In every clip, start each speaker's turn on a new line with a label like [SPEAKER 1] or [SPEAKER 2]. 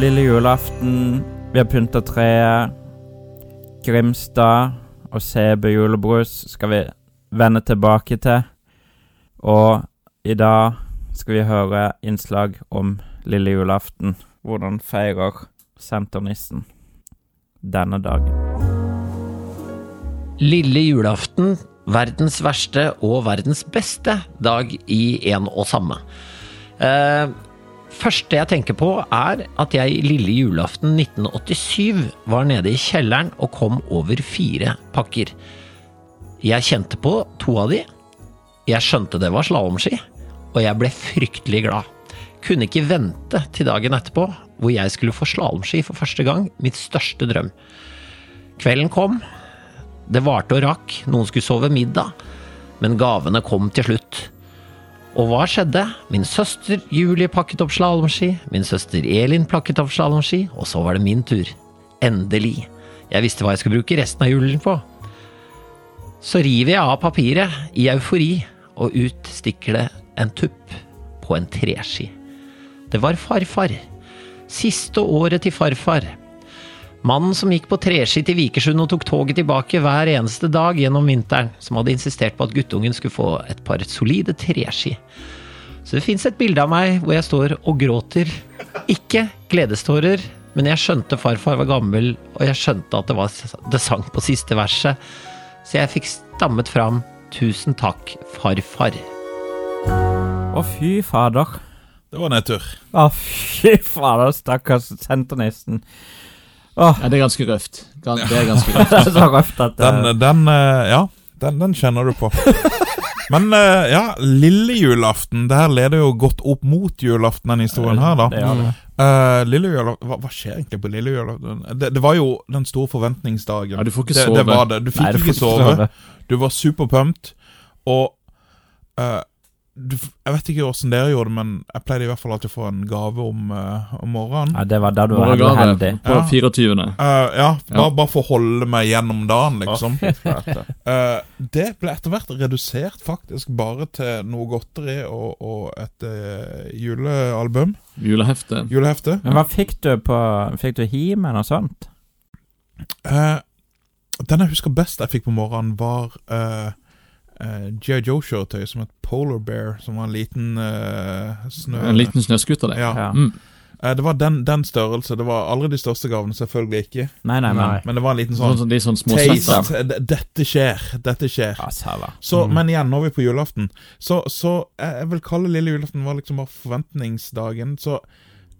[SPEAKER 1] Lille julaften, vi har pynta treet. Grimstad og CB julebrus skal vi vende tilbake til. Og i dag skal vi høre innslag om lille julaften. Hvordan feirer senternissen denne dagen?
[SPEAKER 2] Lille julaften, verdens verste og verdens beste dag i en og samme. Eh, første jeg tenker på er at jeg lille julaften 1987 var nede i kjelleren og kom over fire pakker. Jeg kjente på to av de. Jeg skjønte det var slalåmski, og jeg ble fryktelig glad. Kunne ikke vente til dagen etterpå, hvor jeg skulle få slalåmski for første gang, mitt største drøm. Kvelden kom, det varte og rakk, noen skulle sove middag, men gavene kom til slutt. Og hva skjedde? Min søster Julie pakket opp slalåmski, min søster Elin pakket opp slalåmski, og så var det min tur. Endelig. Jeg visste hva jeg skulle bruke resten av julen på. Så river jeg av papiret i eufori, og ut stikker det en tupp på en treski. Det var farfar. Siste året til farfar. Mannen som gikk på treski til Vikersund og tok toget tilbake hver eneste dag gjennom vinteren, som hadde insistert på at guttungen skulle få et par solide treski. Så det fins et bilde av meg hvor jeg står og gråter. Ikke gledestårer, men jeg skjønte farfar var gammel, og jeg skjønte at det, var, det sang på siste verset. Så jeg fikk stammet fram 'Tusen takk, farfar'.
[SPEAKER 1] Å, fy fader.
[SPEAKER 3] Det var nedtur.
[SPEAKER 1] Å, fy fader, stakkars senternissen. Åh,
[SPEAKER 4] Ja, det er ganske røft. Gan- Det er ganske røft.
[SPEAKER 1] det er så røft at
[SPEAKER 3] Den,
[SPEAKER 1] det
[SPEAKER 3] den eh, Ja, den, den kjenner du på. Men eh, ja, lille julaften. Det her leder jo godt opp mot julaften, den historien her, da.
[SPEAKER 1] det gjør det.
[SPEAKER 3] Eh, lille julaften hva, hva skjer egentlig på lille julaften? Det, det var jo den store forventningsdagen.
[SPEAKER 4] Ja, du får ikke
[SPEAKER 3] det,
[SPEAKER 4] sove.
[SPEAKER 3] Det var det. Du fikk
[SPEAKER 1] Nei, det
[SPEAKER 3] ikke
[SPEAKER 1] får
[SPEAKER 3] sove.
[SPEAKER 1] være.
[SPEAKER 3] Du var superpumped, og eh, du, f- Jeg vet ikke åssen dere gjorde det, men jeg pleide i hvert fall alltid å få en gave om, eh, om morgenen.
[SPEAKER 1] Ja, det var da du var
[SPEAKER 4] Morgengave
[SPEAKER 1] heldig.
[SPEAKER 4] på
[SPEAKER 3] Ja.
[SPEAKER 4] 24.
[SPEAKER 3] Eh, ja, bare,
[SPEAKER 4] Ja.
[SPEAKER 3] bare for å holde meg gjennom dagen, liksom.
[SPEAKER 1] Liksom.
[SPEAKER 3] Eh, det ble etter hvert redusert faktisk bare til noe godteri og, og et eh, julealbum.
[SPEAKER 4] Julehefte.
[SPEAKER 3] Julehefte.
[SPEAKER 1] Men hva fikk du på Fikk du himen og sånt?
[SPEAKER 3] Eh, den jeg husker best jeg fikk på morgenen, var uh, G.I. Joe-kjøretøy som het Polar Bear, som var en liten eh, snø...
[SPEAKER 4] En liten snøskuter, det.
[SPEAKER 3] ja.
[SPEAKER 1] Ja.
[SPEAKER 4] Mm.
[SPEAKER 3] Eh, det var den, den størrelse. Det var aldri de største gavene, selvfølgelig ikke.
[SPEAKER 1] Nei, nei, men
[SPEAKER 4] Nei.
[SPEAKER 3] Men det var en liten
[SPEAKER 4] Sånn
[SPEAKER 3] sånn
[SPEAKER 4] som de sånn små svetter.
[SPEAKER 3] taste. D- Dette skjer, dette skjer.
[SPEAKER 1] Ja, sava.
[SPEAKER 3] Så,
[SPEAKER 4] Mhm.
[SPEAKER 3] Men igjen, nå er vi på julaften. Så, så jeg jeg vil kalle lille julaften var liksom bare forventningsdagen. Så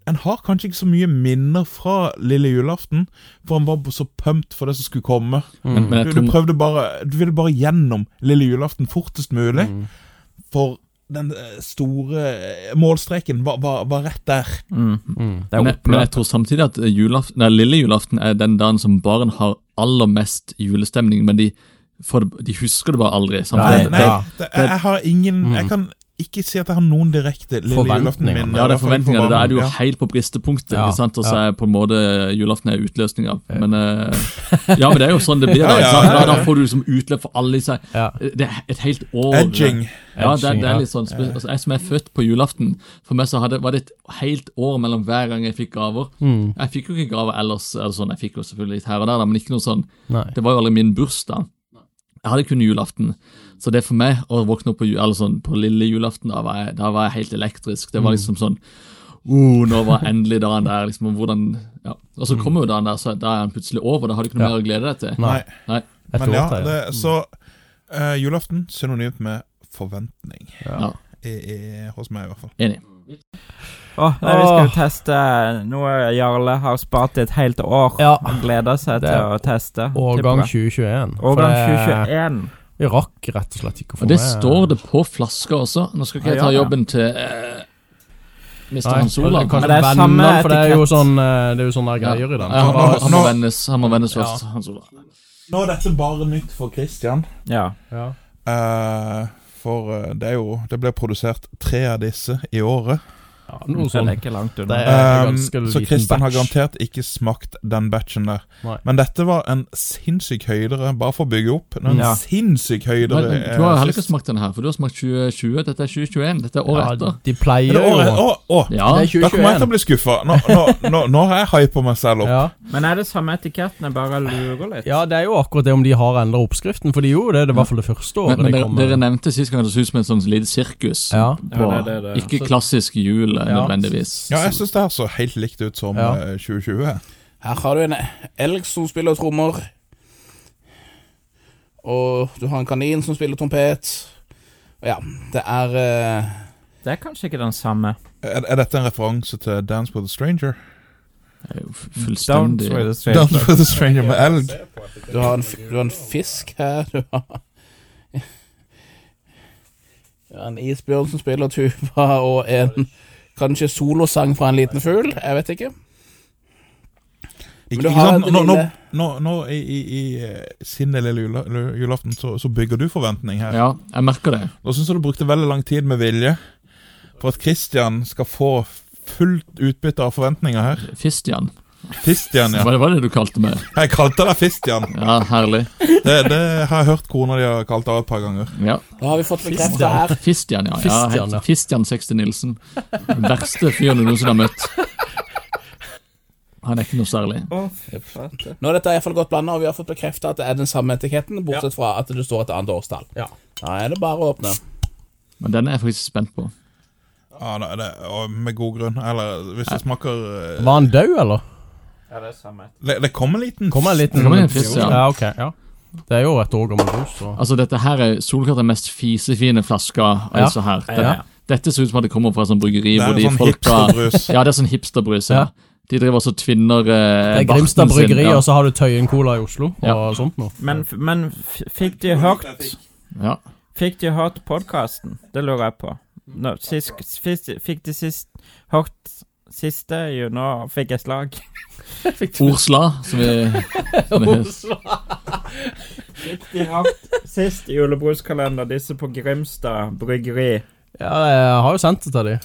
[SPEAKER 3] en har kanskje ikke så mye minner fra lille julaften, for en var b- så pumped for det som skulle komme.
[SPEAKER 4] Men, men
[SPEAKER 3] Mm. Du,
[SPEAKER 4] jeg
[SPEAKER 3] du
[SPEAKER 4] tror
[SPEAKER 3] prøvde bare Du ville bare gjennom lille julaften fortest mulig,
[SPEAKER 4] Mm.
[SPEAKER 3] for den eh, store eh, målstreken var, var, var rett der.
[SPEAKER 1] Mm. Det er
[SPEAKER 4] men, men jeg
[SPEAKER 1] oppløp.
[SPEAKER 4] tror samtidig at julaften, nei, lille julaften er den dagen som barn har aller mest julestemning, men de, får, det- de husker det bare
[SPEAKER 1] Nei,
[SPEAKER 4] aldri.
[SPEAKER 3] Nei,
[SPEAKER 4] samtidig.
[SPEAKER 3] nei det, jeg, jeg har ingen Jeg kan ikke si at jeg har noen direkte lille julaften
[SPEAKER 5] Forventninger.
[SPEAKER 3] min.
[SPEAKER 4] Ja, det er Mm. forventninger. Da er du jo helt på bristepunktet.
[SPEAKER 5] Ja,
[SPEAKER 4] ikke sant? Og så er på en måte julaften er utløsninga. Men, eh, ja, men det er jo sånn det blir.
[SPEAKER 3] Ja,
[SPEAKER 4] Da
[SPEAKER 3] ja,
[SPEAKER 4] ikke sant?
[SPEAKER 3] ja, ja.
[SPEAKER 4] Da, da får du liksom utløp for alle disse
[SPEAKER 5] Ja.
[SPEAKER 4] Det er et helt år.
[SPEAKER 3] Edging.
[SPEAKER 4] Ja, det,
[SPEAKER 5] Edging,
[SPEAKER 4] det
[SPEAKER 5] ja.
[SPEAKER 4] er litt sånn, spe- altså, Jeg som er født på julaften, for meg så hadde, var det et helt år mellom hver gang jeg fikk gaver.
[SPEAKER 3] Mm.
[SPEAKER 4] Jeg fikk jo ikke gaver ellers, eller sånn, jeg fikk jo selvfølgelig litt her og der, da, men ikke noe sånn
[SPEAKER 5] Nei.
[SPEAKER 4] det var jo aldri min bursdag. Jeg hadde kun julaften. Så det for meg å våkne opp på, ju- eller sånn, på lille julaften, da var, jeg, da var jeg helt elektrisk.
[SPEAKER 5] Mm.
[SPEAKER 4] Det var liksom sånn oh, Nå var endelig dagen der. liksom, og hvordan, ja. Og
[SPEAKER 5] Mm.
[SPEAKER 4] så kommer jo dagen der, så da er den plutselig over. Da har du ikke noe mer å glede deg til.
[SPEAKER 5] Nei.
[SPEAKER 4] Nei.
[SPEAKER 5] Et
[SPEAKER 3] Men
[SPEAKER 5] år
[SPEAKER 3] ja,
[SPEAKER 5] til,
[SPEAKER 3] det, så eh, julaften synonymt med forventning.
[SPEAKER 4] Ja.
[SPEAKER 3] I, i, hos meg, i hvert fall.
[SPEAKER 4] Enig.
[SPEAKER 1] Åh, nei, vi skal jo teste noe Jarle har spart i et helt år.
[SPEAKER 5] Ja.
[SPEAKER 1] Han gleder seg
[SPEAKER 5] Det
[SPEAKER 1] til
[SPEAKER 5] er
[SPEAKER 1] å teste.
[SPEAKER 5] Årgang
[SPEAKER 1] Tipper jeg.
[SPEAKER 5] 2021. for
[SPEAKER 1] Årgang
[SPEAKER 5] det-
[SPEAKER 1] 2021.
[SPEAKER 5] Vi rakk rett og slett ikke å få
[SPEAKER 4] Og det
[SPEAKER 5] med-
[SPEAKER 4] står det på flaska også. Nå skal ikke jeg
[SPEAKER 1] Ja,
[SPEAKER 4] ta
[SPEAKER 1] ja.
[SPEAKER 4] jobben til eh, Mr.
[SPEAKER 5] Nei,
[SPEAKER 4] Hans Olav.
[SPEAKER 5] kanskje
[SPEAKER 1] Men det er
[SPEAKER 5] venner,
[SPEAKER 1] samme
[SPEAKER 5] for det er jo
[SPEAKER 1] etikett.
[SPEAKER 5] sånn eh, Det er jo sånne
[SPEAKER 4] Ja.
[SPEAKER 5] greier i
[SPEAKER 4] Ja,
[SPEAKER 5] den.
[SPEAKER 4] han, må, han, må
[SPEAKER 3] Nå-
[SPEAKER 4] vennes, han må vennes først, Hans Olav.
[SPEAKER 3] Nå er dette bare nytt for Christian.
[SPEAKER 1] Ja.
[SPEAKER 5] Ja.
[SPEAKER 3] Eh, for eh, det er jo Det ble produsert tre av disse i året.
[SPEAKER 5] Ja, noe
[SPEAKER 1] Det er
[SPEAKER 4] sånn.
[SPEAKER 5] sånt.
[SPEAKER 1] ikke langt
[SPEAKER 5] Det
[SPEAKER 1] unna.
[SPEAKER 5] er
[SPEAKER 3] Um,
[SPEAKER 5] ganske
[SPEAKER 3] så
[SPEAKER 5] liten
[SPEAKER 3] Christian har
[SPEAKER 5] batch.
[SPEAKER 3] garantert ikke smakt den batchen der.
[SPEAKER 5] Nei.
[SPEAKER 3] Men dette var en sinnssyk høydere, bare for å bygge opp. Det var En
[SPEAKER 1] Ja.
[SPEAKER 3] sinnssyk høydere.
[SPEAKER 4] Men
[SPEAKER 3] eh,
[SPEAKER 4] du har heller ikke
[SPEAKER 3] sist.
[SPEAKER 4] smakt denne her, for du har smakt 2020. Dette er 2021. Dette er
[SPEAKER 5] Ja,
[SPEAKER 4] året etter.
[SPEAKER 5] de
[SPEAKER 3] Er
[SPEAKER 5] pleier
[SPEAKER 3] det
[SPEAKER 5] jo
[SPEAKER 3] året? Å, å!
[SPEAKER 4] Ja,
[SPEAKER 5] Det er
[SPEAKER 3] Da kommer jeg til å
[SPEAKER 5] 2021.
[SPEAKER 3] bli skuffa. Nå, nå, nå, nå har jeg hypa meg selv opp.
[SPEAKER 5] Ja.
[SPEAKER 1] Men er det samme etiketten? Jeg bare lurer litt.
[SPEAKER 5] ja, det er jo akkurat det om de har endra oppskriften, for de gjorde det, det var i hvert fall det første året
[SPEAKER 4] men, men
[SPEAKER 5] de
[SPEAKER 4] dere,
[SPEAKER 5] kom.
[SPEAKER 4] dere nevnte sist gang det så ut som et sånt lite sirkus.
[SPEAKER 5] Ja.
[SPEAKER 4] På,
[SPEAKER 1] Ja, det er det det er.
[SPEAKER 4] Ikke klassisk jul, eh,
[SPEAKER 5] Ja.
[SPEAKER 4] nødvendigvis.
[SPEAKER 3] Ja, jeg syns det her så helt likt ut som
[SPEAKER 5] Ja.
[SPEAKER 3] eh, 2020.
[SPEAKER 6] Her har du en elg som spiller trommer. Og du har en kanin som spiller trompet. Og Ja, det er eh,
[SPEAKER 1] Det er kanskje ikke den samme.
[SPEAKER 3] Er, er dette en referanse til Dance with a Stranger?
[SPEAKER 4] Det er jo f-
[SPEAKER 1] Don't
[SPEAKER 4] fullstendig
[SPEAKER 1] with the
[SPEAKER 3] Dance
[SPEAKER 1] stranger.
[SPEAKER 3] with a Stranger med elg.
[SPEAKER 6] du, har en, fi- du har en fisk her, du har du har en isbjørn som spiller tuba, og en kanskje solosang fra en liten fugl. Jeg vet ikke.
[SPEAKER 3] Ikke,
[SPEAKER 6] Men du
[SPEAKER 3] ikke
[SPEAKER 6] har
[SPEAKER 3] sant?
[SPEAKER 6] det
[SPEAKER 3] Nå, nå,
[SPEAKER 6] lille-
[SPEAKER 3] nå, nå i, i, i eh, sin lille jula- julaften så, så bygger du forventning her.
[SPEAKER 4] Ja, jeg merker det.
[SPEAKER 3] Nå syns jeg du brukte veldig lang tid med vilje for at Christian skal få fullt utbytte av forventninger her.
[SPEAKER 4] Fistian.
[SPEAKER 3] Fistian, ja.
[SPEAKER 4] Hva var det du kalte meg?
[SPEAKER 3] Jeg kalte deg Fistian.
[SPEAKER 4] Ja, herlig.
[SPEAKER 3] Det, det har jeg hørt kona di har kalt deg et par ganger.
[SPEAKER 4] Ja.
[SPEAKER 6] Da har vi fått bekrefta her.
[SPEAKER 4] Fistian, ja. ja,
[SPEAKER 5] Fistian, ja.
[SPEAKER 4] helt- Fistian Sexte Nilsen. Den verste fyren du noensinne har møtt. Han er ikke noe særlig.
[SPEAKER 6] Nå er dette i hvert fall godt blanda, og vi har fått bekrefta at det er den samme etiketten, bortsett fra at det står et annet årstall.
[SPEAKER 5] Ja.
[SPEAKER 6] Da er det bare å åpne.
[SPEAKER 4] Men den er jeg faktisk spent på.
[SPEAKER 3] Ja, det, det, og Med god grunn. Eller hvis det smaker eh,
[SPEAKER 5] Var han død, eller?
[SPEAKER 1] Ja, det er samme.
[SPEAKER 3] Det, det kom en liten
[SPEAKER 5] Kom en liten
[SPEAKER 4] Det kom en fisk, ja.
[SPEAKER 5] ja, ok, ja. Det er jo et år gammel rus. Så.
[SPEAKER 4] Altså, dette her er Solkatt den mest fisefine flaska av
[SPEAKER 5] Ja.
[SPEAKER 4] disse her. Den,
[SPEAKER 1] Ja.
[SPEAKER 4] Dette ser ut som at det kommer fra et sånt bryggeri
[SPEAKER 3] Det
[SPEAKER 4] hvor
[SPEAKER 3] er
[SPEAKER 4] de
[SPEAKER 3] en sånn
[SPEAKER 4] folk fra
[SPEAKER 3] hipsterbrus.
[SPEAKER 4] Ja, det er sånn hipsterbrus. Ja.
[SPEAKER 5] Ja.
[SPEAKER 4] De driver også og tvinner eh,
[SPEAKER 5] Det er
[SPEAKER 4] barten
[SPEAKER 5] Grimstad
[SPEAKER 4] sin,
[SPEAKER 5] bryggeri,
[SPEAKER 4] ja.
[SPEAKER 5] og så har du Tøyen Cola i Oslo, og
[SPEAKER 4] Ja.
[SPEAKER 5] sånt noe.
[SPEAKER 1] Men, f- men f- fikk de hørt
[SPEAKER 4] Ja.
[SPEAKER 1] Fikk de hørt podkasten? Det lurer jeg på. Nå, sist, sist, fikk de sist hørt siste? Jo, nå fikk jeg slag.
[SPEAKER 4] Osla, som vi som vi-
[SPEAKER 1] Fikk de hørt sist julebruskalender, disse på Grimstad bryggeri?
[SPEAKER 5] Ja, jeg har jo sendt det til de.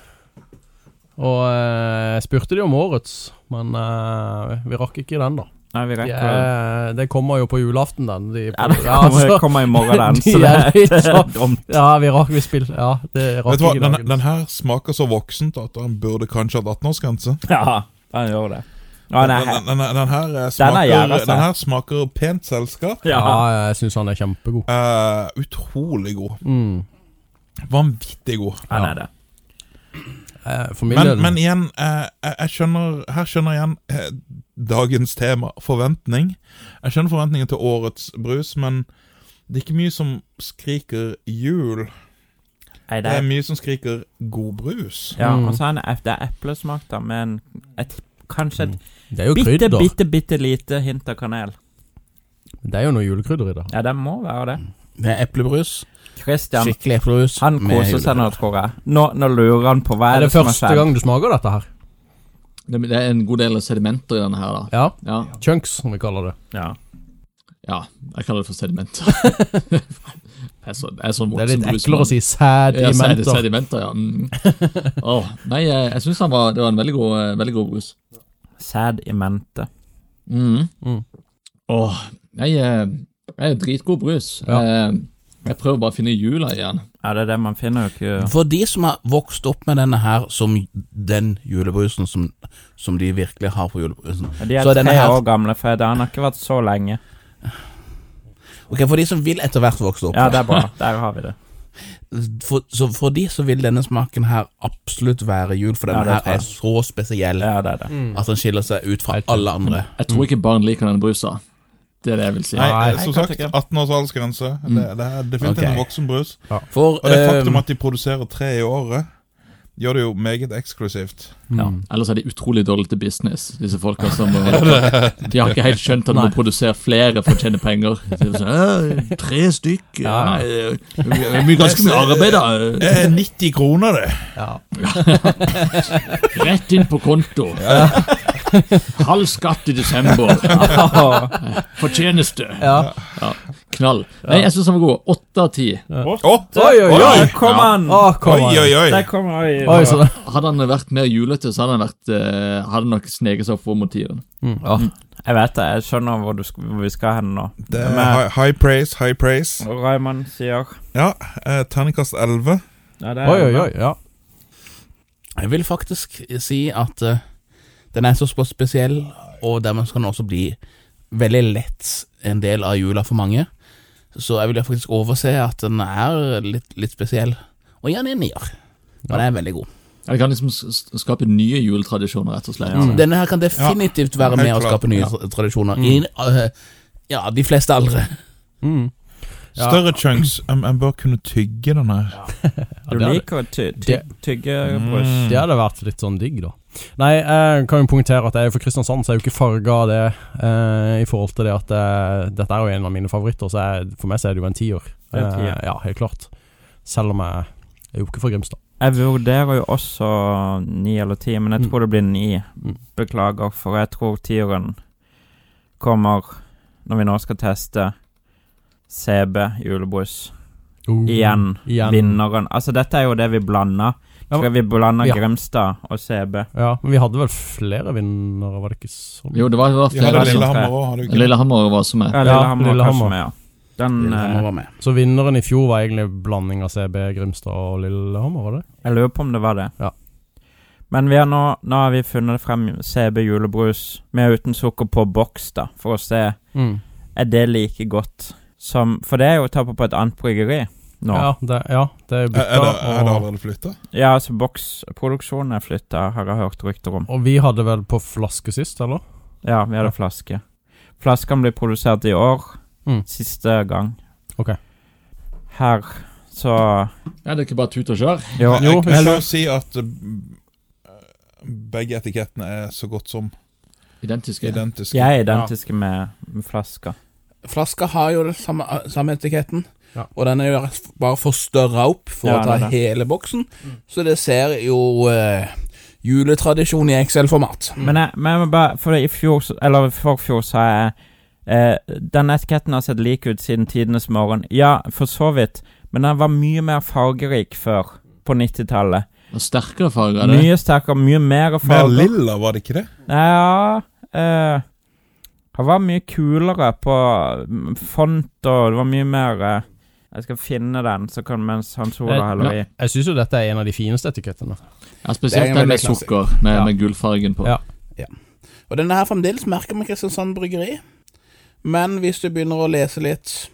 [SPEAKER 5] Og eh, jeg spurte de om årets, men eh, vi rakk ikke den, da.
[SPEAKER 1] Nei, vi rekker det.
[SPEAKER 5] Eh, det kommer jo på julaften, den. De,
[SPEAKER 1] Ja, det kommer,
[SPEAKER 5] altså,
[SPEAKER 1] kommer i morgen, den. Så
[SPEAKER 5] de
[SPEAKER 1] det
[SPEAKER 5] er
[SPEAKER 1] er,
[SPEAKER 5] litt
[SPEAKER 1] det er
[SPEAKER 5] sånn-
[SPEAKER 1] dumt.
[SPEAKER 5] ja, vi rakk vi spill. Ja, det
[SPEAKER 3] Vet
[SPEAKER 5] rakk
[SPEAKER 3] du hva,
[SPEAKER 5] ikke
[SPEAKER 3] den,
[SPEAKER 5] dagen.
[SPEAKER 3] den her smaker så voksent at den burde kanskje hatt 18-årsgrense.
[SPEAKER 1] Ja, han gjør det. Nå,
[SPEAKER 3] Den,
[SPEAKER 1] nei,
[SPEAKER 3] den, den, den, her, eh,
[SPEAKER 1] Den er jævla
[SPEAKER 3] smaker,
[SPEAKER 1] sær.
[SPEAKER 3] den her smaker pent selskap.
[SPEAKER 1] ja.
[SPEAKER 5] ja. jeg syns han er kjempegod.
[SPEAKER 3] Eh, utrolig god.
[SPEAKER 5] Mm.
[SPEAKER 3] Vanvittig god.
[SPEAKER 1] Han er det.
[SPEAKER 5] Eh, for min
[SPEAKER 3] Men,
[SPEAKER 5] del
[SPEAKER 3] men igjen, eh, jeg, jeg skjønner, her skjønner jeg igjen eh, dagens tema, forventning. Jeg skjønner forventningen til årets brus, men det er ikke mye som skriker jul.
[SPEAKER 1] Nei,
[SPEAKER 3] Det
[SPEAKER 1] det
[SPEAKER 3] er
[SPEAKER 1] er,
[SPEAKER 3] mye som skriker god brus.
[SPEAKER 1] ja,
[SPEAKER 5] Mm.
[SPEAKER 1] og så er det, det er eplesmak, da, men et, kanskje et
[SPEAKER 5] Det er jo
[SPEAKER 1] bitte,
[SPEAKER 5] krydder.
[SPEAKER 1] bitte, bitte lite hint av kanel.
[SPEAKER 5] Det er jo noe julekrydder i det.
[SPEAKER 1] Ja, det må være
[SPEAKER 5] Mm.
[SPEAKER 1] det.
[SPEAKER 6] Med eplebrus.
[SPEAKER 1] Christian,
[SPEAKER 6] Skikkelig eplebrus.
[SPEAKER 1] han
[SPEAKER 6] med
[SPEAKER 1] koser seg nå,
[SPEAKER 6] julebrus.
[SPEAKER 1] tror jeg. Nå, nå lurer han på hva
[SPEAKER 5] Er
[SPEAKER 1] er
[SPEAKER 5] det
[SPEAKER 1] det som er
[SPEAKER 5] første
[SPEAKER 1] feil.
[SPEAKER 5] gang du smaker dette her?
[SPEAKER 4] det, det er en god del sedimenter i denne her, da.
[SPEAKER 5] Ja.
[SPEAKER 4] Ja.
[SPEAKER 5] Chunks, som vi kaller det.
[SPEAKER 1] Ja.
[SPEAKER 4] ja. Jeg kaller det for sedimenter. jeg er så, jeg er sånn
[SPEAKER 5] Det er litt
[SPEAKER 4] voksen brus,
[SPEAKER 5] eklere å
[SPEAKER 4] men-
[SPEAKER 5] si sæd i
[SPEAKER 4] Ja, sedi-
[SPEAKER 5] menter.
[SPEAKER 4] sedimenter, ja. Mm. Åh, nei, eh, jeg, jeg syns det var en veldig god, eh, veldig god brus.
[SPEAKER 1] Sæd i mente.
[SPEAKER 4] Mm.
[SPEAKER 5] Mm.
[SPEAKER 4] Åh, nei, eh, jeg er dritgod brus.
[SPEAKER 5] Ja.
[SPEAKER 4] Eh, Jeg prøver bare å finne jula igjen.
[SPEAKER 1] Ja, det er det man finner jo
[SPEAKER 5] Mm.
[SPEAKER 1] ikke
[SPEAKER 6] For de som har vokst opp med denne her som den julebrusen som, som de virkelig har på julebrusen
[SPEAKER 1] De er
[SPEAKER 6] Så denne
[SPEAKER 1] tre
[SPEAKER 6] her-
[SPEAKER 1] år gamle, for han har ikke vært så lenge.
[SPEAKER 6] Ok, For de som vil etter hvert vokse opp,
[SPEAKER 1] Ja, det er bra. Der har vi det.
[SPEAKER 6] for, så for de så vil denne smaken her absolutt være jul, for
[SPEAKER 1] Ja,
[SPEAKER 6] denne
[SPEAKER 1] det tror
[SPEAKER 6] her
[SPEAKER 1] jeg.
[SPEAKER 6] er så spesiell
[SPEAKER 1] Ja, det er det.
[SPEAKER 5] Mm.
[SPEAKER 6] at den skiller seg ut fra alle andre.
[SPEAKER 4] Jeg tror ikke barn liker den brusa. Det er det jeg vil si.
[SPEAKER 3] Nei,
[SPEAKER 5] Nei,
[SPEAKER 3] eh, som
[SPEAKER 1] kanskje
[SPEAKER 3] sagt,
[SPEAKER 1] ikke.
[SPEAKER 3] 18 års aldersgrense. Det, det er definitivt
[SPEAKER 6] Ok.
[SPEAKER 3] en voksen brus.
[SPEAKER 6] For
[SPEAKER 3] Og det
[SPEAKER 6] eh,
[SPEAKER 3] faktum at de produserer tre i året, gjør det jo meget eksklusivt.
[SPEAKER 4] Ja. Ellers er de utrolig dårlige til business, disse folka som De har ikke helt skjønt at de må produsere flere for å tjene penger. Så det er sånn, «Æ, tre stykk ja.
[SPEAKER 5] Ja.
[SPEAKER 4] nei, det er mye- Ganske mye arbeid, da.
[SPEAKER 3] Eh, 90 kroner, det!
[SPEAKER 5] Ja.
[SPEAKER 4] Rett inn på konto. Halv skatt i desember. Fortjeneste.
[SPEAKER 5] Ja.
[SPEAKER 4] knall. Nei, jeg syns han var god. Åtte av ti.
[SPEAKER 3] Åtte!
[SPEAKER 5] Oi, oi, oi.
[SPEAKER 1] Der kom han!
[SPEAKER 5] Å, kom
[SPEAKER 3] Oi,
[SPEAKER 5] an.
[SPEAKER 3] oi, oi.
[SPEAKER 1] Der kom han.
[SPEAKER 5] Oi, så
[SPEAKER 4] Hadde han vært mer julete, så hadde han vært, eh, hadde nok sneket seg opp for motiven.
[SPEAKER 5] Mm.
[SPEAKER 1] Åh, jeg vet det. Jeg skjønner hvor, du, sk- hvor vi skal hen nå.
[SPEAKER 3] Det er high, high praise, high praise.
[SPEAKER 1] Og Raymond sier
[SPEAKER 3] Ja, eh, terningkast 11.
[SPEAKER 1] ja, det er-
[SPEAKER 5] Oi, oi, oi. Ja.
[SPEAKER 6] Jeg vil faktisk si at eh, den er så spesiell, og dermed kan den også bli veldig lett en del av jula for mange. Så jeg vil faktisk overse at den er litt, litt spesiell. Og ja, den er en nier. Men den er veldig god.
[SPEAKER 4] Ja, Det kan liksom s- s- skape nye juletradisjoner, rett og slett.
[SPEAKER 6] Denne her kan definitivt
[SPEAKER 3] Mm.
[SPEAKER 6] være
[SPEAKER 3] helt
[SPEAKER 6] med å
[SPEAKER 3] klart,
[SPEAKER 6] skape nye
[SPEAKER 3] ja.
[SPEAKER 6] tra- tradisjoner. I eh, ja, de fleste aldre.
[SPEAKER 5] Mm. Ja.
[SPEAKER 3] Større chunks. Jeg, jeg bør kunne tygge den her.
[SPEAKER 1] Du
[SPEAKER 5] det Mm. er det.
[SPEAKER 1] liker å ty ty tygge brus.
[SPEAKER 5] Det hadde vært litt sånn digg, da. Nei, jeg kan jo poengtere at jeg er jo fra Kristiansand, så jeg er jo ikke farga av det eh, i forhold til det at eh, dette er jo en av mine favoritter, så jeg, for meg så er det jo en tiår.
[SPEAKER 1] Det er en tier.
[SPEAKER 5] Eh, ja, helt klart. Selv om jeg, jeg er jo ikke fra Grimstad.
[SPEAKER 1] Jeg vurderer jo også ni eller ti, men jeg
[SPEAKER 5] Mm.
[SPEAKER 1] tror det blir ni.
[SPEAKER 5] Mm.
[SPEAKER 1] Beklager, for jeg tror tieren kommer når vi nå skal teste CB julebrus. Igjen.
[SPEAKER 5] Oh, Igjen.
[SPEAKER 1] Vinneren. Altså, dette er jo det vi blanda.
[SPEAKER 5] Ja,
[SPEAKER 1] Skal vi blande
[SPEAKER 5] ja.
[SPEAKER 1] Grimstad og CB?
[SPEAKER 5] Ja, men vi hadde vel flere vinnere, var det ikke sånn?
[SPEAKER 4] Jo, det var, det sånn var
[SPEAKER 3] Vi hadde
[SPEAKER 4] flere.
[SPEAKER 1] det
[SPEAKER 4] som-
[SPEAKER 1] lille-
[SPEAKER 3] Lillehammer òg, hadde vi ikke?
[SPEAKER 4] Lillehammer var også med.
[SPEAKER 1] Ja, Lillehammer,
[SPEAKER 5] Lillehammer.
[SPEAKER 1] kanskje med, ja.
[SPEAKER 3] Mm.
[SPEAKER 1] Den,
[SPEAKER 6] Lillehammer
[SPEAKER 1] eh,
[SPEAKER 6] var med.
[SPEAKER 5] Så vinneren i fjor var egentlig en blanding av CB, Grimstad og Lillehammer, var det?
[SPEAKER 1] jeg lurer på om det var det.
[SPEAKER 5] Ja.
[SPEAKER 1] Men vi har nå, nå har vi funnet frem CB julebrus med og uten sukker på boks, da, for å se er det like godt som For det er jo å ta på på et annet bryggeri nå.
[SPEAKER 5] Ja, det, ja, det er
[SPEAKER 3] Er, Eh, er,
[SPEAKER 5] bytta.
[SPEAKER 3] det, er det
[SPEAKER 5] og,
[SPEAKER 3] allerede flytta?
[SPEAKER 1] Ja, altså boksproduksjonen er flytta, har jeg hørt rykter om.
[SPEAKER 5] og vi hadde vel på flaske sist, eller?
[SPEAKER 1] Ja, vi hadde flaske. Flaskene blir produsert i år.
[SPEAKER 5] Mm.
[SPEAKER 1] Siste gang.
[SPEAKER 5] Ok.
[SPEAKER 1] Her, så
[SPEAKER 4] Ja, det er ikke bare tut og kjør.
[SPEAKER 1] Jo.
[SPEAKER 3] Jeg-
[SPEAKER 5] jo,
[SPEAKER 3] jeg kan
[SPEAKER 5] vi-
[SPEAKER 3] jo si at eh, begge etikettene er så godt som
[SPEAKER 4] Identiske.
[SPEAKER 3] identiske.
[SPEAKER 1] De er identiske med, med flaska.
[SPEAKER 6] Flaska har jo det samme, samme etiketten,
[SPEAKER 5] Ja.
[SPEAKER 6] og den er jo bare forstørra opp for
[SPEAKER 1] Ja,
[SPEAKER 6] å ta
[SPEAKER 1] det Mm. er det.
[SPEAKER 6] hele boksen, så det ser jo eh, juletradisjon i Excel-format.
[SPEAKER 1] Men jeg, men jeg må bare For i fjor, så- eller forfjor, sa jeg eh, Den etiketten har sett lik ut siden tidenes morgen. Ja, for så vidt, men den var mye mer fargerik før, på 90-tallet.
[SPEAKER 4] Og sterkere farger er det.
[SPEAKER 1] Mye sterkere, mye mer
[SPEAKER 3] Mer
[SPEAKER 1] farger.
[SPEAKER 3] lilla, var det ikke det?
[SPEAKER 1] Ja eh, Han var mye kulere på mm, font og det var mye mer eh, Jeg skal finne den, så kan mens Hans Ola
[SPEAKER 4] Eh,
[SPEAKER 1] heller i.
[SPEAKER 5] Jeg syns jo dette er en av de fineste etikettene.
[SPEAKER 4] Ja,
[SPEAKER 6] Det er
[SPEAKER 4] spesielt
[SPEAKER 6] en
[SPEAKER 4] den med
[SPEAKER 6] veldig klassisk.
[SPEAKER 4] sukker, med,
[SPEAKER 5] Ja.
[SPEAKER 4] med gullfargen på.
[SPEAKER 5] Ja.
[SPEAKER 6] Og denne her fremdeles merker med Kristiansand Bryggeri, men hvis du begynner å lese litt,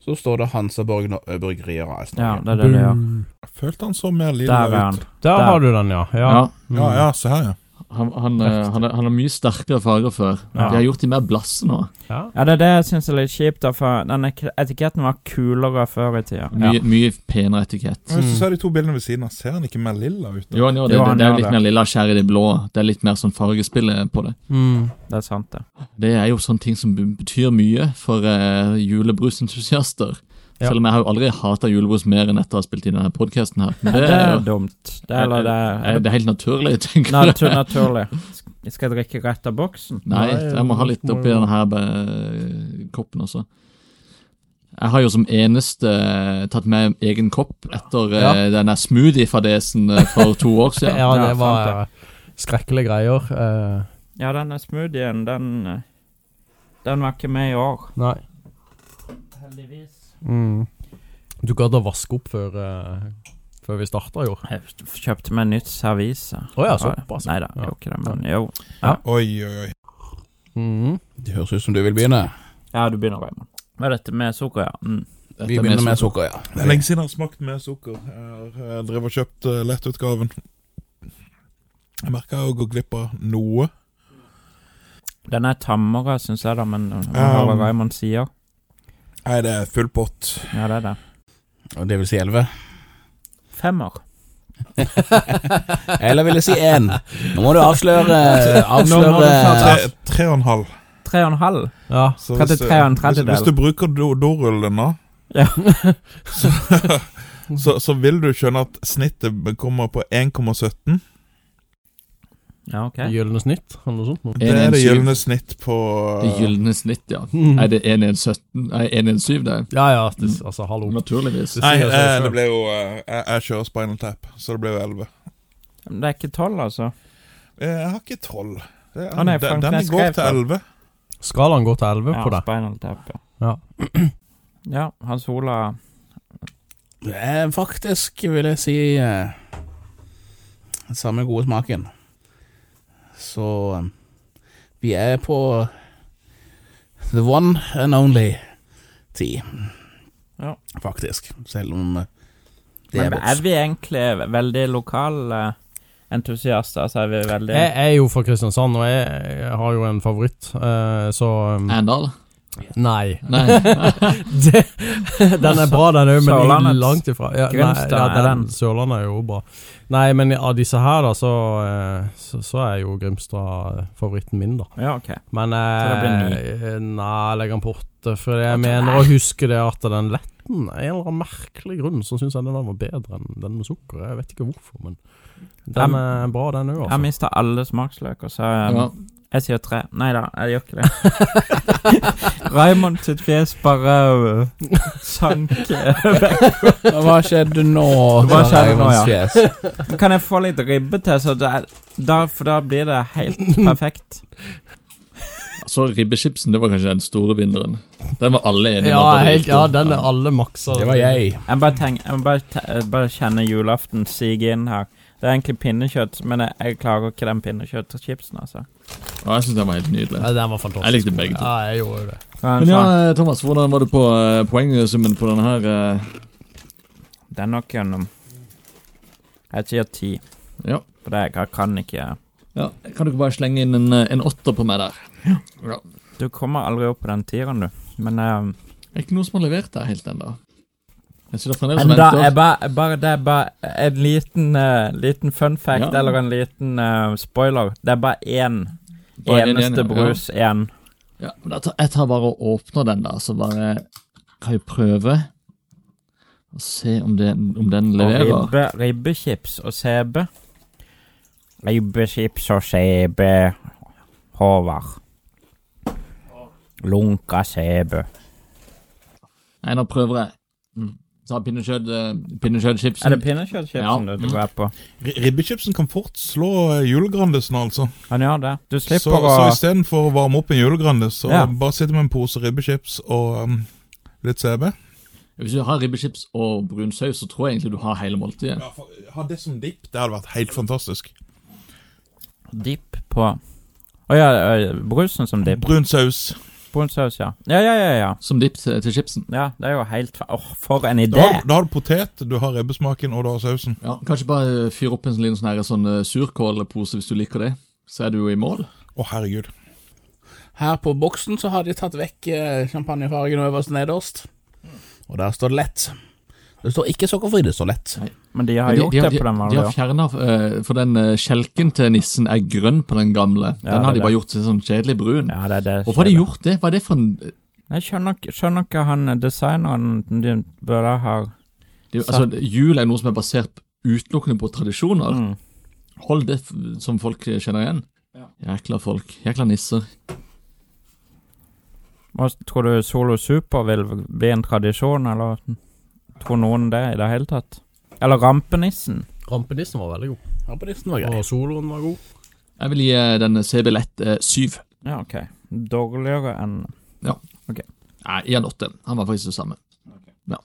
[SPEAKER 6] så står det Hansaborg Nå- Bryggeri og AS.
[SPEAKER 1] Ja, det er det det gjør.
[SPEAKER 3] Jeg følte han så mer lilla
[SPEAKER 1] Der er han.
[SPEAKER 3] ut.
[SPEAKER 5] Der,
[SPEAKER 1] Der.
[SPEAKER 5] har du den, ja. ja. Mm.
[SPEAKER 4] Ja,
[SPEAKER 3] Ja, ja, se her, ja.
[SPEAKER 4] han, han, eh, han, er- han har mye sterkere farger før.
[SPEAKER 5] Ja.
[SPEAKER 4] De har gjort de mer blasse nå.
[SPEAKER 5] Ja.
[SPEAKER 1] Ja, det er det jeg syns er litt kjipt, da, for den ek- etiketten var kulere før i tida.
[SPEAKER 4] Mye, mye penere etikett.
[SPEAKER 3] Og Hvis du ser de to bildene ved siden av, ser han ikke mer lilla ut? da?
[SPEAKER 4] Jo, han gjør det,
[SPEAKER 1] Jo,
[SPEAKER 4] det,
[SPEAKER 1] han
[SPEAKER 4] det er
[SPEAKER 1] gjør
[SPEAKER 4] jo litt
[SPEAKER 1] det.
[SPEAKER 4] mer lilla skjær i det blå. Det er litt mer sånn fargespillet på det.
[SPEAKER 5] Mm.
[SPEAKER 1] Det er sant, det.
[SPEAKER 4] Det er jo sånne ting som be- betyr mye for eh, julebrusentusiaster.
[SPEAKER 5] Ja.
[SPEAKER 4] Selv om jeg har jo aldri hata julebrus mer enn etter å ha spilt inn denne podkasten her. Men
[SPEAKER 1] Det
[SPEAKER 4] det er
[SPEAKER 1] er
[SPEAKER 4] jo
[SPEAKER 1] dumt. Det, er- eller det
[SPEAKER 4] eh,
[SPEAKER 1] er
[SPEAKER 4] det er helt naturlig, tenker jeg.
[SPEAKER 1] Natur, naturlig. Sk- Skal jeg drikke rett av boksen?
[SPEAKER 4] Nei,
[SPEAKER 5] Nei,
[SPEAKER 4] jeg må ha litt
[SPEAKER 5] må
[SPEAKER 4] oppi
[SPEAKER 5] jo-
[SPEAKER 4] denne her eh, koppen også. Jeg har jo som eneste eh, tatt med egen kopp etter eh, denne smoothie-fadesen eh, for to år
[SPEAKER 5] Ja,
[SPEAKER 4] siden.
[SPEAKER 5] det
[SPEAKER 1] Ja,
[SPEAKER 5] var
[SPEAKER 1] sant
[SPEAKER 5] eh, skrekkelige greier. eh,
[SPEAKER 1] Ja, denne smoothien, den eh, Den var ikke med i år.
[SPEAKER 5] nei.
[SPEAKER 1] Heldigvis.
[SPEAKER 5] Mm. Du gadd å vaske opp før, eh, før vi starta i år?
[SPEAKER 1] Jeg f- kjøpte meg nytt servise.
[SPEAKER 5] Å ja, såpass.
[SPEAKER 1] Nei da, gjorde ikke det, men jo.
[SPEAKER 3] Oi, oi, oi.
[SPEAKER 5] Mhm.
[SPEAKER 6] Det høres ut som du vil begynne.
[SPEAKER 1] Ja, du begynner, Raymond. Hva er dette med sukker, ja? Mm.
[SPEAKER 6] Vi begynner med sukker, ja.
[SPEAKER 3] Det er lenge siden jeg har smakt mer sukker. Jeg har eh, drevet og kjøpt eh, lettutgaven. Jeg merker jeg går glipp av noe.
[SPEAKER 1] Den er tammere, syns jeg, da, men um,
[SPEAKER 3] Um.
[SPEAKER 1] hva Raymond sier
[SPEAKER 3] Nei, det er full pott.
[SPEAKER 1] Ja, det er det.
[SPEAKER 6] Og Det vil si elleve.
[SPEAKER 1] Femmer.
[SPEAKER 6] Eller vil jeg si én? Nå må du avsløre,
[SPEAKER 1] Nå må du
[SPEAKER 6] avsløre
[SPEAKER 1] snart-
[SPEAKER 3] Tre, tre og en halv.
[SPEAKER 1] Tre og en halv.
[SPEAKER 5] Ja.
[SPEAKER 3] Så
[SPEAKER 1] 33 og en
[SPEAKER 3] hvis,
[SPEAKER 1] tredjedel.
[SPEAKER 3] hvis du bruker do- dorullen da,
[SPEAKER 1] Ja.
[SPEAKER 3] så, så, så vil du skjønne at snittet kommer på 1,17.
[SPEAKER 1] Ja, ok.
[SPEAKER 5] Gylne snitt, eller noe sånt. nå.
[SPEAKER 3] Det er det
[SPEAKER 4] 117.
[SPEAKER 3] gylne snitt på
[SPEAKER 4] Det gylne snitt, ja.
[SPEAKER 5] Mm.
[SPEAKER 1] Mm.
[SPEAKER 4] Er det 117? Nei, 117, det. er-
[SPEAKER 5] Ja ja, det, altså hallo.
[SPEAKER 4] Naturligvis.
[SPEAKER 3] Nei,
[SPEAKER 5] sier seg
[SPEAKER 3] eh,
[SPEAKER 5] selv.
[SPEAKER 3] det ble jo eh, Jeg, jeg kjører Spinal Tap, så det ble jo 11.
[SPEAKER 1] Men det er ikke tolv, altså.
[SPEAKER 3] Eh, Jeg har ikke 12. Det er,
[SPEAKER 1] Å, nei,
[SPEAKER 3] den,
[SPEAKER 1] Frank,
[SPEAKER 3] den
[SPEAKER 1] jeg
[SPEAKER 3] går
[SPEAKER 1] skrev
[SPEAKER 3] til 11.
[SPEAKER 5] Skalaen går til 11
[SPEAKER 1] Ja,
[SPEAKER 5] på det.
[SPEAKER 1] Spinal Tap, ja.
[SPEAKER 5] Ja.
[SPEAKER 1] Ja, Hans Ola
[SPEAKER 6] Eh, faktisk vil jeg si eh, samme gode smaken. Så eh, vi er på the one and only ti,
[SPEAKER 1] Ja.
[SPEAKER 6] faktisk. Selv om eh, det
[SPEAKER 1] Men
[SPEAKER 6] er
[SPEAKER 1] er
[SPEAKER 6] vårt.
[SPEAKER 1] vi egentlig ve- veldig lokale entusiaster? Altså er vi veldig
[SPEAKER 5] Jeg er jo fra Kristiansand, og jeg, jeg har jo en favoritt, eh, så um,
[SPEAKER 4] Arendal?
[SPEAKER 5] Nei.
[SPEAKER 4] Nei.
[SPEAKER 5] Det, den er bra, den òg, men jeg er
[SPEAKER 1] Sørlandets
[SPEAKER 5] langt ifra. Ja, nei,
[SPEAKER 1] Grimstad
[SPEAKER 5] ja,
[SPEAKER 1] er
[SPEAKER 5] den
[SPEAKER 1] den.
[SPEAKER 5] Sørlandet er jo bra. Nei, men av disse her, da, så, eh, så, så er jo Grimstad favoritten min, da.
[SPEAKER 1] Ja, ok.
[SPEAKER 5] Men
[SPEAKER 1] Så det
[SPEAKER 5] eh, Nei, legg den på åtte. For jeg mener å huske det at den letten Av en eller annen merkelig grunn så syns jeg den der var bedre enn den med sukker. Jeg vet ikke hvorfor, men den er bra, den òg,
[SPEAKER 1] Jeg
[SPEAKER 5] altså.
[SPEAKER 1] mista alle smaksløker, så um,
[SPEAKER 4] Ja.
[SPEAKER 1] jeg sier tre. Nei da, jeg gjør ikke det. Raymond sitt fjes bare uh, sank uh. vekk.
[SPEAKER 6] Hva skjedde nå?
[SPEAKER 1] Hva skjedde nå, ja?
[SPEAKER 6] ja?
[SPEAKER 1] Kan jeg få litt ribbe til, så det er, da, for da blir det helt perfekt?
[SPEAKER 4] Så ribbechipsen, det var kanskje den store vinneren. Den var alle enige
[SPEAKER 5] Ja,
[SPEAKER 4] at det var
[SPEAKER 5] helt,
[SPEAKER 4] riktig.
[SPEAKER 5] ja, den er alle maksa.
[SPEAKER 6] Det var jeg.
[SPEAKER 1] Jeg bare, tenk, jeg må bare, te- jeg bare kjenner julaften sige inn her. Det er egentlig pinnekjøtt, men jeg, jeg klarer ikke den pinnekjøttchipsen, altså.
[SPEAKER 4] Ja, jeg synes den var helt nydelig.
[SPEAKER 5] Ja, den var fantastisk.
[SPEAKER 4] Jeg likte begge to.
[SPEAKER 5] Ja, jeg gjorde jo det.
[SPEAKER 1] Men
[SPEAKER 4] Men ja,
[SPEAKER 1] sånn,
[SPEAKER 4] eh, Thomas, hvordan var du på eh, poengsummen på denne her? eh,
[SPEAKER 1] Det er nok gjennom Jeg sier ti,
[SPEAKER 4] Ja,
[SPEAKER 1] for det jeg kan ikke
[SPEAKER 4] ja. Kan du ikke bare slenge inn en, eh, en åtter på meg der? Ja.
[SPEAKER 1] Du kommer aldri opp på den tieren, du. Men eh,
[SPEAKER 4] Det er ikke noen som har levert der helt ennå. Jeg sitter fremdeles og
[SPEAKER 1] Men da er
[SPEAKER 4] venter.
[SPEAKER 1] bare, bare det er bare en liten, eh, liten fun fact,
[SPEAKER 4] Ja.
[SPEAKER 1] eller en liten eh, spoiler. Det er bare én
[SPEAKER 4] Bare en
[SPEAKER 1] eneste
[SPEAKER 4] igjen, ja.
[SPEAKER 1] brus igjen.
[SPEAKER 4] Ja, men da tar- jeg tar bare og åpner den der, så bare kan vi prøve å se om den, om den
[SPEAKER 1] Og
[SPEAKER 4] leverer.
[SPEAKER 1] ribbe, ribbechips og CB. Ribbechips og CB, Håvard. Lunka CB.
[SPEAKER 4] Nei, nå prøver jeg. Mm. Ta pinnekjøtt, eh,
[SPEAKER 1] Er det
[SPEAKER 4] pinnekjøttchipsen. Ja. Mm.
[SPEAKER 1] pinnekjøttchipsen du du er på?
[SPEAKER 3] Ri- Ribbechipsen kan fort slå eh, julegrandisen, altså.
[SPEAKER 1] Han gjør det. Du
[SPEAKER 3] Så,
[SPEAKER 1] slipper
[SPEAKER 3] så
[SPEAKER 1] å
[SPEAKER 3] istedenfor å varme opp en julegrandis, så
[SPEAKER 1] Ja.
[SPEAKER 3] bare sitter med en pose ribbechips og um, litt CB.
[SPEAKER 4] Hvis du har ribbechips og brun saus, så tror jeg egentlig du har hele måltidet.
[SPEAKER 3] Ja, for, ha det som dipp. Det hadde vært helt fantastisk.
[SPEAKER 1] dipp på Å ja, ø, brusen som dipp.
[SPEAKER 3] Brun saus.
[SPEAKER 1] Brunsaus, ja. Ja, ja, ja, ja.
[SPEAKER 4] Som dipp til, til chipsen.
[SPEAKER 1] Ja, det er jo helt fa- Åh, for en idé!
[SPEAKER 3] Da, har- da har du potet, du har ribbesmaken, og du har sausen.
[SPEAKER 4] Ja, kanskje bare fyre opp en sånn liten sånn her, sånn eh, surkålpose hvis du liker det. Så er du jo i mål.
[SPEAKER 3] Å, herregud.
[SPEAKER 6] Her på boksen så har de tatt vekk eh, champagnefargen øverst og nederst. Og der står det lett. Det står ikke sukkerfri, det står lett.
[SPEAKER 1] Men de har
[SPEAKER 4] Men
[SPEAKER 1] gjort det på den
[SPEAKER 4] de
[SPEAKER 1] vanlige.
[SPEAKER 4] har fjerna For den eh, skjelken til nissen er grønn på den gamle. Den
[SPEAKER 1] Ja, det
[SPEAKER 4] har
[SPEAKER 1] er
[SPEAKER 4] de
[SPEAKER 1] det.
[SPEAKER 4] bare gjort til sånn kjedelig brun.
[SPEAKER 1] Ja, det er det.
[SPEAKER 4] Hvorfor har de gjort det? Hva er det for en det,
[SPEAKER 1] Jeg skjønner ikke- skjønner ikke han eh, designeren de burde ha
[SPEAKER 4] er jo- Altså, Jul er noe som er basert utelukkende på tradisjoner.
[SPEAKER 1] mm.
[SPEAKER 4] Hold det f- som folk eh, kjenner igjen. Jækla folk. Jækla nisser.
[SPEAKER 1] Hva s- Tror du Solo Super vil bli en tradisjon, eller tror noen det i det hele tatt? Eller Rampenissen?
[SPEAKER 5] Rampenissen var veldig god,
[SPEAKER 6] Ja, på listen var grei.
[SPEAKER 5] og soloen var god.
[SPEAKER 4] Jeg vil gi eh, den CB Lett eh, syv.
[SPEAKER 1] Ja, OK. Dårligere enn
[SPEAKER 4] Nei, i en åtte. Han var faktisk det samme. Ja.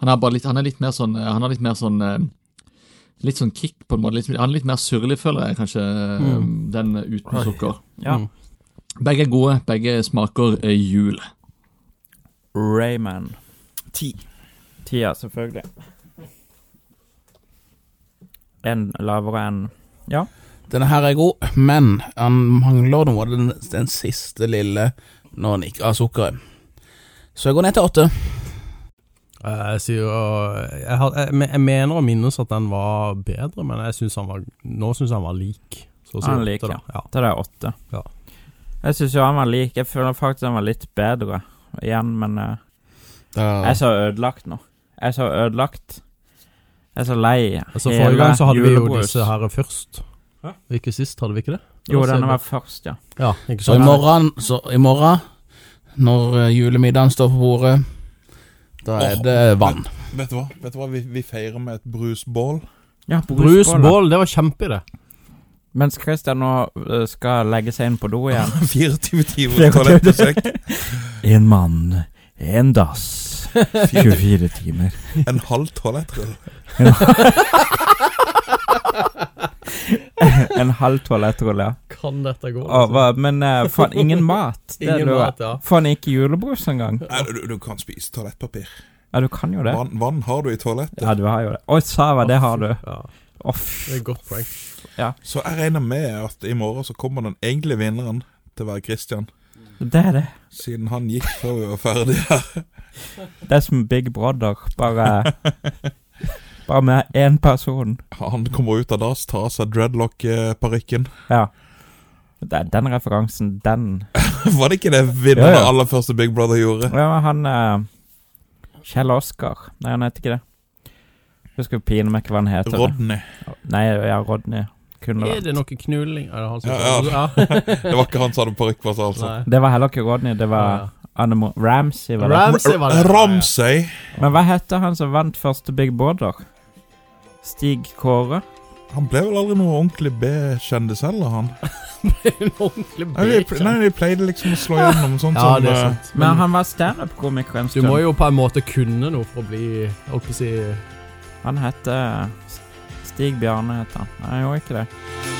[SPEAKER 4] Han er, bare litt, han er litt mer sånn eh, Han har litt mer sånn eh, Litt sånn kick, på en måte. Litt, han er litt mer surrelig, føler jeg, kanskje, eh, den uten sukker.
[SPEAKER 1] Ja.
[SPEAKER 5] Mm.
[SPEAKER 4] Begge er gode, begge smaker eh, jul.
[SPEAKER 1] Rayman. Ti. Ti, ja, selvfølgelig. En lavere enn
[SPEAKER 6] Denne her er god, men han mangler noe av den, den siste lille når han ikke har sukkeret. Så jeg går ned til åtte.
[SPEAKER 5] Eh, Jeg sier jo- jeg, har- jeg, men jeg mener å minnes at den var bedre, men jeg synes han var, nå syns jeg han var lik. Så å si
[SPEAKER 1] Han er
[SPEAKER 5] åtte,
[SPEAKER 1] lik,
[SPEAKER 5] da. ja.
[SPEAKER 1] til det er åtte.
[SPEAKER 5] Ja.
[SPEAKER 1] Jeg syns jo han var lik. Jeg føler faktisk han var litt bedre igjen, men eh, Jeg er så ødelagt nå. Jeg er så ødelagt. Jeg er så lei.
[SPEAKER 5] Altså,
[SPEAKER 1] Hele
[SPEAKER 5] forrige gang så hadde vi jo
[SPEAKER 1] julebrus.
[SPEAKER 5] disse her først. Ikke sist, hadde vi ikke det?
[SPEAKER 1] Jo, denne var først, ja.
[SPEAKER 5] Ja, ikke
[SPEAKER 6] Så i
[SPEAKER 5] sant?
[SPEAKER 6] morgen, så i morgen når eh, julemiddagen står på bordet, da er
[SPEAKER 3] Åh.
[SPEAKER 6] det vann.
[SPEAKER 3] Vet du hva? Vet du hva? Vi, vi feirer med et brusbål.
[SPEAKER 1] ja brusboller.
[SPEAKER 5] Brusbål, det var kjempeidé.
[SPEAKER 1] Mens Christian nå eh, skal legge seg inn på do igjen.
[SPEAKER 3] 24 timer
[SPEAKER 1] 24
[SPEAKER 3] toalettbesøk.
[SPEAKER 1] En mann, en dass, 24 timer.
[SPEAKER 3] En halv toalettrull.
[SPEAKER 1] En halv toalettrulle.
[SPEAKER 5] Kan dette gå?
[SPEAKER 1] Å, hva- Men uh, faen, ingen mat. Det
[SPEAKER 5] Ingen
[SPEAKER 1] lurer jeg.
[SPEAKER 5] mat, ja.
[SPEAKER 1] Faen, ikke julebrus engang.
[SPEAKER 3] Nei, du, du kan spise toalettpapir.
[SPEAKER 1] Ja, du kan jo det.
[SPEAKER 3] Vann, vann har du i toalettet.
[SPEAKER 1] Ja, du har jo det. Oi, Sava, det har du.
[SPEAKER 5] Ja,
[SPEAKER 1] Å,
[SPEAKER 5] det er
[SPEAKER 1] fy.
[SPEAKER 5] et godt poeng.
[SPEAKER 3] Så jeg regner med at i morgen så kommer den egentlige vinneren til å være Christian.
[SPEAKER 1] Det er det.
[SPEAKER 3] Siden han gikk før vi var ferdige her.
[SPEAKER 1] Det er som Big Brother, bare Bare med én person.
[SPEAKER 3] Han kommer ut av dass, tar av seg dreadlock-parykken.
[SPEAKER 1] Ja. Det, den referansen, den
[SPEAKER 3] Var det ikke det vinneren
[SPEAKER 1] Ja, ja.
[SPEAKER 3] av aller første Big Brother gjorde?
[SPEAKER 1] Ja, men han eh, Kjell Oskar. Nei, han heter ikke det. Husker pine meg ikke hva han heter.
[SPEAKER 3] Rodney.
[SPEAKER 1] Nei, ja, Rodney. Kunne
[SPEAKER 5] Er
[SPEAKER 1] vært.
[SPEAKER 5] det noe knulling Er det han som
[SPEAKER 3] Ja, ja.
[SPEAKER 5] Ja.
[SPEAKER 3] Det var ikke han som hadde parykk på seg, altså.
[SPEAKER 5] Nei.
[SPEAKER 1] Det var heller ikke Rodney, det var
[SPEAKER 5] Ja.
[SPEAKER 1] Anne Mo Ramsey. Var det.
[SPEAKER 5] Ramsey var det.
[SPEAKER 3] Ramsay.
[SPEAKER 1] Men hva heter han som vant første Big Brother? Stig Kåre?
[SPEAKER 3] Han ble vel aldri noe ordentlig B-kjendis heller, han.
[SPEAKER 5] En ordentlig
[SPEAKER 3] Nei, de,
[SPEAKER 5] bitch.
[SPEAKER 3] nei, de pleide liksom å slå gjennom sånn
[SPEAKER 5] Ja,
[SPEAKER 3] som
[SPEAKER 5] det er
[SPEAKER 3] eh,
[SPEAKER 5] sant.
[SPEAKER 1] Men han var standup-komiker en
[SPEAKER 5] Du
[SPEAKER 1] stund.
[SPEAKER 5] må jo på en måte kunne noe for å bli holdt på å si
[SPEAKER 1] Han heter Stig Bjarne, heter han. Nei, han gjorde ikke det.